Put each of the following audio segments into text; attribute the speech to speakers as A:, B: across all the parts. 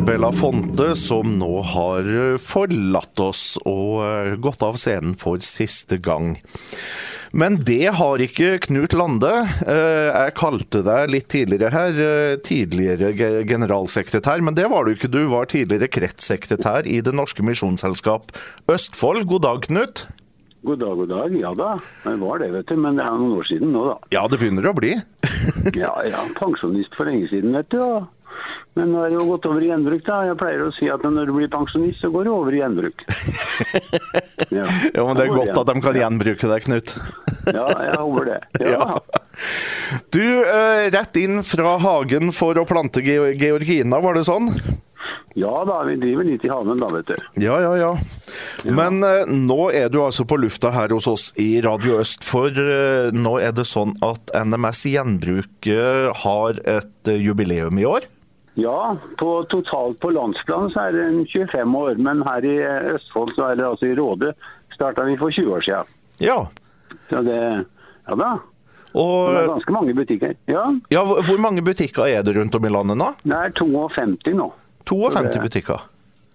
A: Belafonte, som nå har eh, forlatt oss og eh, gått av scenen for siste gang. Men det har ikke Knut Lande. Eh, Jeg kalte deg litt tidligere her eh, tidligere ge- generalsekretær, men det var du ikke. Du var tidligere kretssekretær i Det norske misjonsselskap Østfold. God dag, Knut.
B: God dag, god dag. Ja da. Men var det, vet du. Men det er noen år siden nå, da.
A: Ja, det begynner å bli.
B: Ja, ja. Pensjonist for lenge siden, vet du. og- Men nå er det jo gått over i gjenbruk, da. Jeg pleier å si at når du blir pensjonist, så går det over i gjenbruk. Ja,
A: Jo, men Det er
B: Da går
A: godt at de kan
B: igjen.
A: gjenbruke deg, Knut.
B: Ja, jeg håper det.
A: Ja.
B: Ja.
A: Du, eh, rett inn fra hagen for å plante ge georgina, var det sånn?
B: ja da, vi driver litt i haven da, vet du.
A: Ja, ja, ja. Men eh, nå er du altså på lufta her hos oss i Radio Øst, for eh, nå er det sånn at NMS Gjenbruk eh, har et eh, jubileum i år.
B: Ja, på, totalt på landsplan så er det en 25 år, men her i eh, Østfold, så er det altså i Råde, starta vi for 20 år siden.
A: Ja.
B: Så det Ja da. Det er
A: Og
B: ganske mange butikker. Ja,
A: ja, hvor hvor mange butikker er det rundt om i landet nå?
B: det er 52 nå.
A: 52
B: Det er-
A: butikker.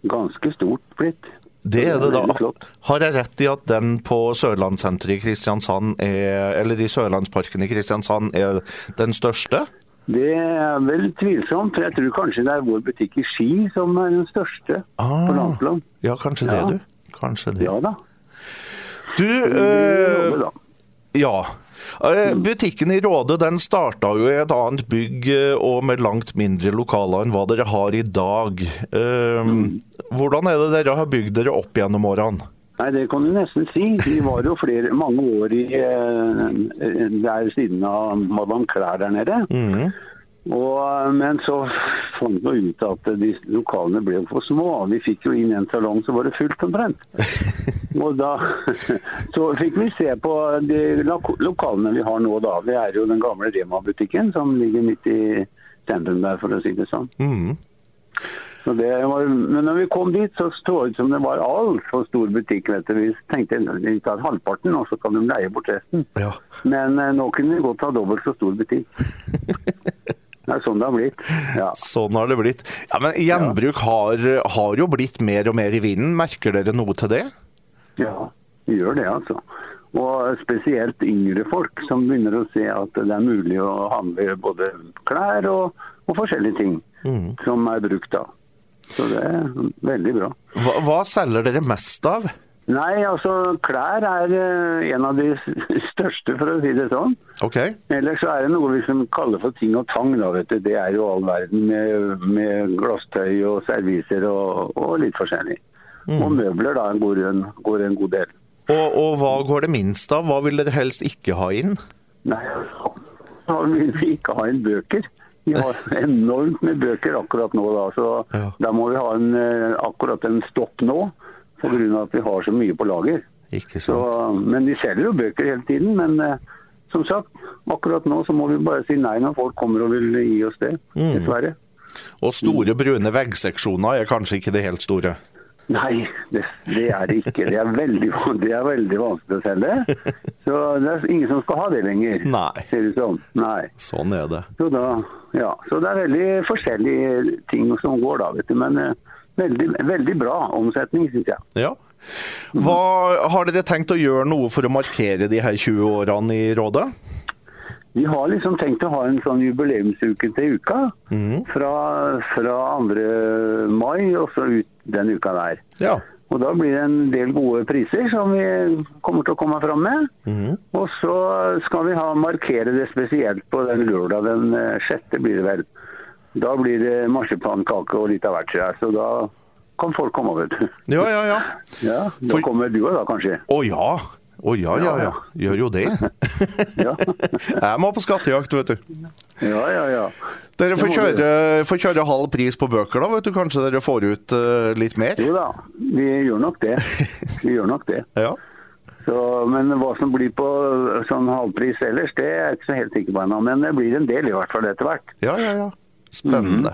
B: Ganske stort blitt.
A: Det er det
B: Det er veldig
A: da.
B: flott.
A: Har jeg rett i at den på Sørlandssenteret i Kristiansand, er, eller i Sørlandsparken i Kristiansand, er den største?
B: Det er vel tvilsomt, for jeg tror kanskje det er vår butikk i Ski som er den største
A: Ah.
B: på landsplan.
A: Ja, kanskje
B: Ja.
A: det, du. Kanskje det.
B: Ja da.
A: Du,
B: Det
A: eh,
B: jobber da.
A: ja. Eh, Butikken i Råde den starta jo i et annet bygg eh, og med langt mindre lokaler enn hva dere har i dag. Eh, Hvordan er det dere har bygd dere opp gjennom årene?
B: Nei, det kan du nesten si. Vi var jo flere, mange år i, eh, der siden av Madame Klær der nede. Og, men så fant vi ut at de lokalene ble jo for små. Vi fikk jo inn en salong, så var det fullt omtrent. Og da så fikk vi se på de lok- lokalene vi har nå, da. Vi er jo den gamle Rema-butikken som ligger midt i sentrum der, for å si det sånn.
A: Mhm.
B: Så det var, men når vi kom dit, så så det ut som det var altfor stor butikk. vet du. Vi tenkte vi tar halvparten, og så kan de leie bort resten.
A: Ja.
B: Men eh, nå kunne vi godt ha dobbelt så stor butikk. Det er sånn det har blitt. Ja.
A: Sånn har det blitt. Ja, Men gjenbruk har, har jo blitt mer og mer i vinden. Merker dere noe til det?
B: ja, vi gjør det, altså. Og spesielt yngre folk som begynner å se at det er mulig å handle både klær og, og forskjellige ting som er brukt da. Så det er veldig bra.
A: Hva, hva selger dere mest av?
B: Nei, altså klær er eh, en av de s- største, for å si det sånn.
A: Ok.
B: Ellers så er det noe vi som kaller for ting og tang. da, vet du. Det er jo all verden med, med glasstøy og serviser og, og litt forskjellig. Og møbler da går en, går en god del.
A: Og, og hva går det minst av? Hva vil dere helst ikke ha inn?
B: Nei, altså, så vil vi ikke ha inn bøker. Vi har enormt med bøker akkurat nå, da, så
A: Ja.
B: da må vi ha en, eh, akkurat en stopp nå. Pga. at vi har så mye på lager.
A: Ikke
B: Så,
A: sant?
B: men de selger jo bøker hele tiden. Men eh, som sagt, akkurat nå så må vi bare si nei når folk kommer og vil gi oss det. Dessverre.
A: Og store brune veggseksjoner er kanskje ikke det helt store.
B: Nei, det, det er det ikke. Det er, veldig, van- det er veldig vanskelig å selge. Så det er ingen som skal ha det lenger.
A: Nei.
B: Ser det ut som. Nei.
A: Sånn er det.
B: Så, da, ja. så det er veldig forskjellige ting som går da, vet du. Men eh, veldig, veldig bra omsetning, syns jeg.
A: Ja. Hva Har dere tenkt å gjøre noe for å markere de her 20 årene i rådet?
B: Vi har liksom tenkt å ha en sånn jubileumsuke til uka. Fra, fra 2. mai og så ut den uka der.
A: Ja.
B: Og da blir det en del gode priser som vi kommer til å komme fram med. Og så skal vi ha, markere det spesielt på den lørdag den eh, sjette, blir det vel. Da blir det marsipankake og litt av hvert, tror jeg. Så da kan folk komme over.
A: Ja, ja, ja.
B: Ja, da
A: For-
B: kommer du òg da, kanskje.
A: Å ja. Å ja, ja, ja. Gjør jo det.
B: Ja,
A: Jeg må på skattejakt, vet du.
B: ja, ja. ja.
A: Dere får
B: Det må du
A: kjøre, får kjøre halv pris på bøker, da. vet du. Kanskje dere får ut eh, litt mer?
B: Jo da, vi gjør nok det. Vi gjør nok det.
A: Ja.
B: Så, men hva som blir på sånn halvpris ellers, det er jeg ikke så helt sikker på ennå. Men det blir en del i hvert fall etter hvert.
A: ja, ja, ja. Spennende.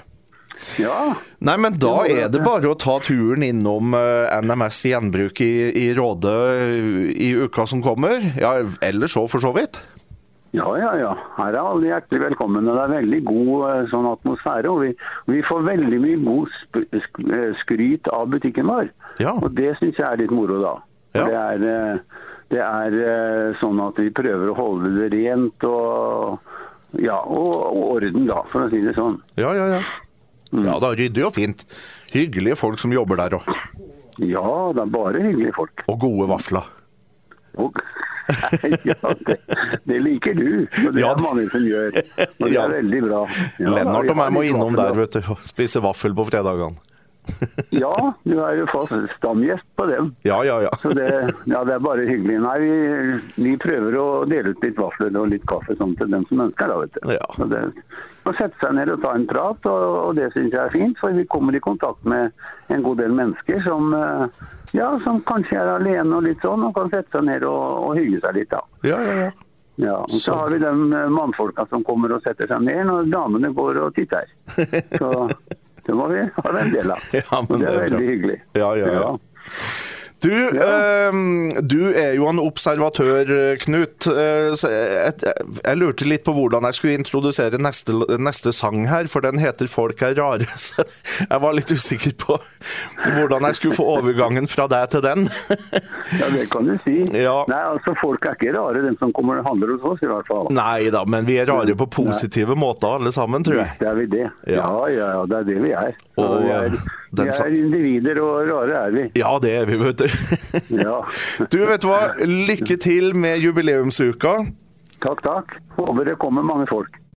B: Ja,
A: Nei, men da
B: Det må
A: er
B: det.
A: Mhm. det bare å ta turen innom eh, NMS Gjenbruk eh, i, i Råde i uka som kommer. Ja, eller så, for så vidt.
B: Ja, ja, ja. Her er alle hjertelig velkommen. og Det er veldig god eh, sånn atmosfære. Og vi, vi får veldig mye god sp sk eh, skryt av butikken vår.
A: Ja.
B: Og det syns jeg er litt moro, da.
A: Ja.
B: Det, er, eh, det er eh, sånn at vi prøver å holde det rent og ja, og, og orden, da, for å si det sånn.
A: Ja, ja, ja.
B: Mm.
A: Ja da, ryddig og fint. Hyggelige folk som jobber der, og,
B: Ja, det er bare hyggelige folk.
A: og gode vafler.
B: Og, ja, det, det liker du, og det
A: Ja,
B: er det mange som gjør. Og det
A: Ja.
B: er veldig bra. Ja, da,
A: Lennart og
B: vi har
A: meg må
B: litt
A: innom
B: vaffel,
A: der,
B: da.
A: vet du. og Spise vaffel på fredagene.
B: Ja, du er jo fast stamgjest på dem.
A: Ja, ja, ja.
B: Så det, ja, det er bare hyggelig. Nei, vi, vi prøver å dele ut litt vafler og litt kaffe sånn til dem som ønsker da, vet du.
A: Ja.
B: Så det, man setter seg ned og tar en prat, og, og det syns jeg er fint. For vi kommer i kontakt med en god del mennesker som, eh, ja, som kanskje er alene og litt sånn, og kan sette seg ned og, og hygge seg litt. da.
A: Ja, ja, ja.
B: Ja, og så
A: Så-
B: har vi de eh, mannfolka som kommer og setter seg ned når damene går og titter. Så det må vi ha en del av.
A: Ja, men
B: det er
A: det er bra.
B: veldig hyggelig.
A: Ja, ja, ja. Du, eh, du er jo en observatør, eh, Knut. Eh, så jeg, jeg, jeg lurte litt på hvordan jeg skulle introdusere neste, neste sang her, for den heter 'Folk er rare'. Så jeg var litt usikker på hvordan jeg skulle få overgangen fra deg til den.
B: Ja, det kan du si.
A: Ja.
B: Nei, altså Folk er ikke rare, de som kommer og handler hos oss i hvert fall.
A: Nei da, men vi er rare på positive måter alle sammen, tror jeg.
B: Det er vi det.
A: Ja.
B: Ja, ja, ja, det er det vi er. Så
A: Og,
B: vi
A: eh,
B: er,
A: den
B: vi
A: sa-
B: er individer, og rare er vi.
A: Ja, det er vi, vet du.
B: Ja.
A: Du, vet du hva? Lykke til med jubileumsuka.
B: Takk, takk. Håper det kommer mange folk.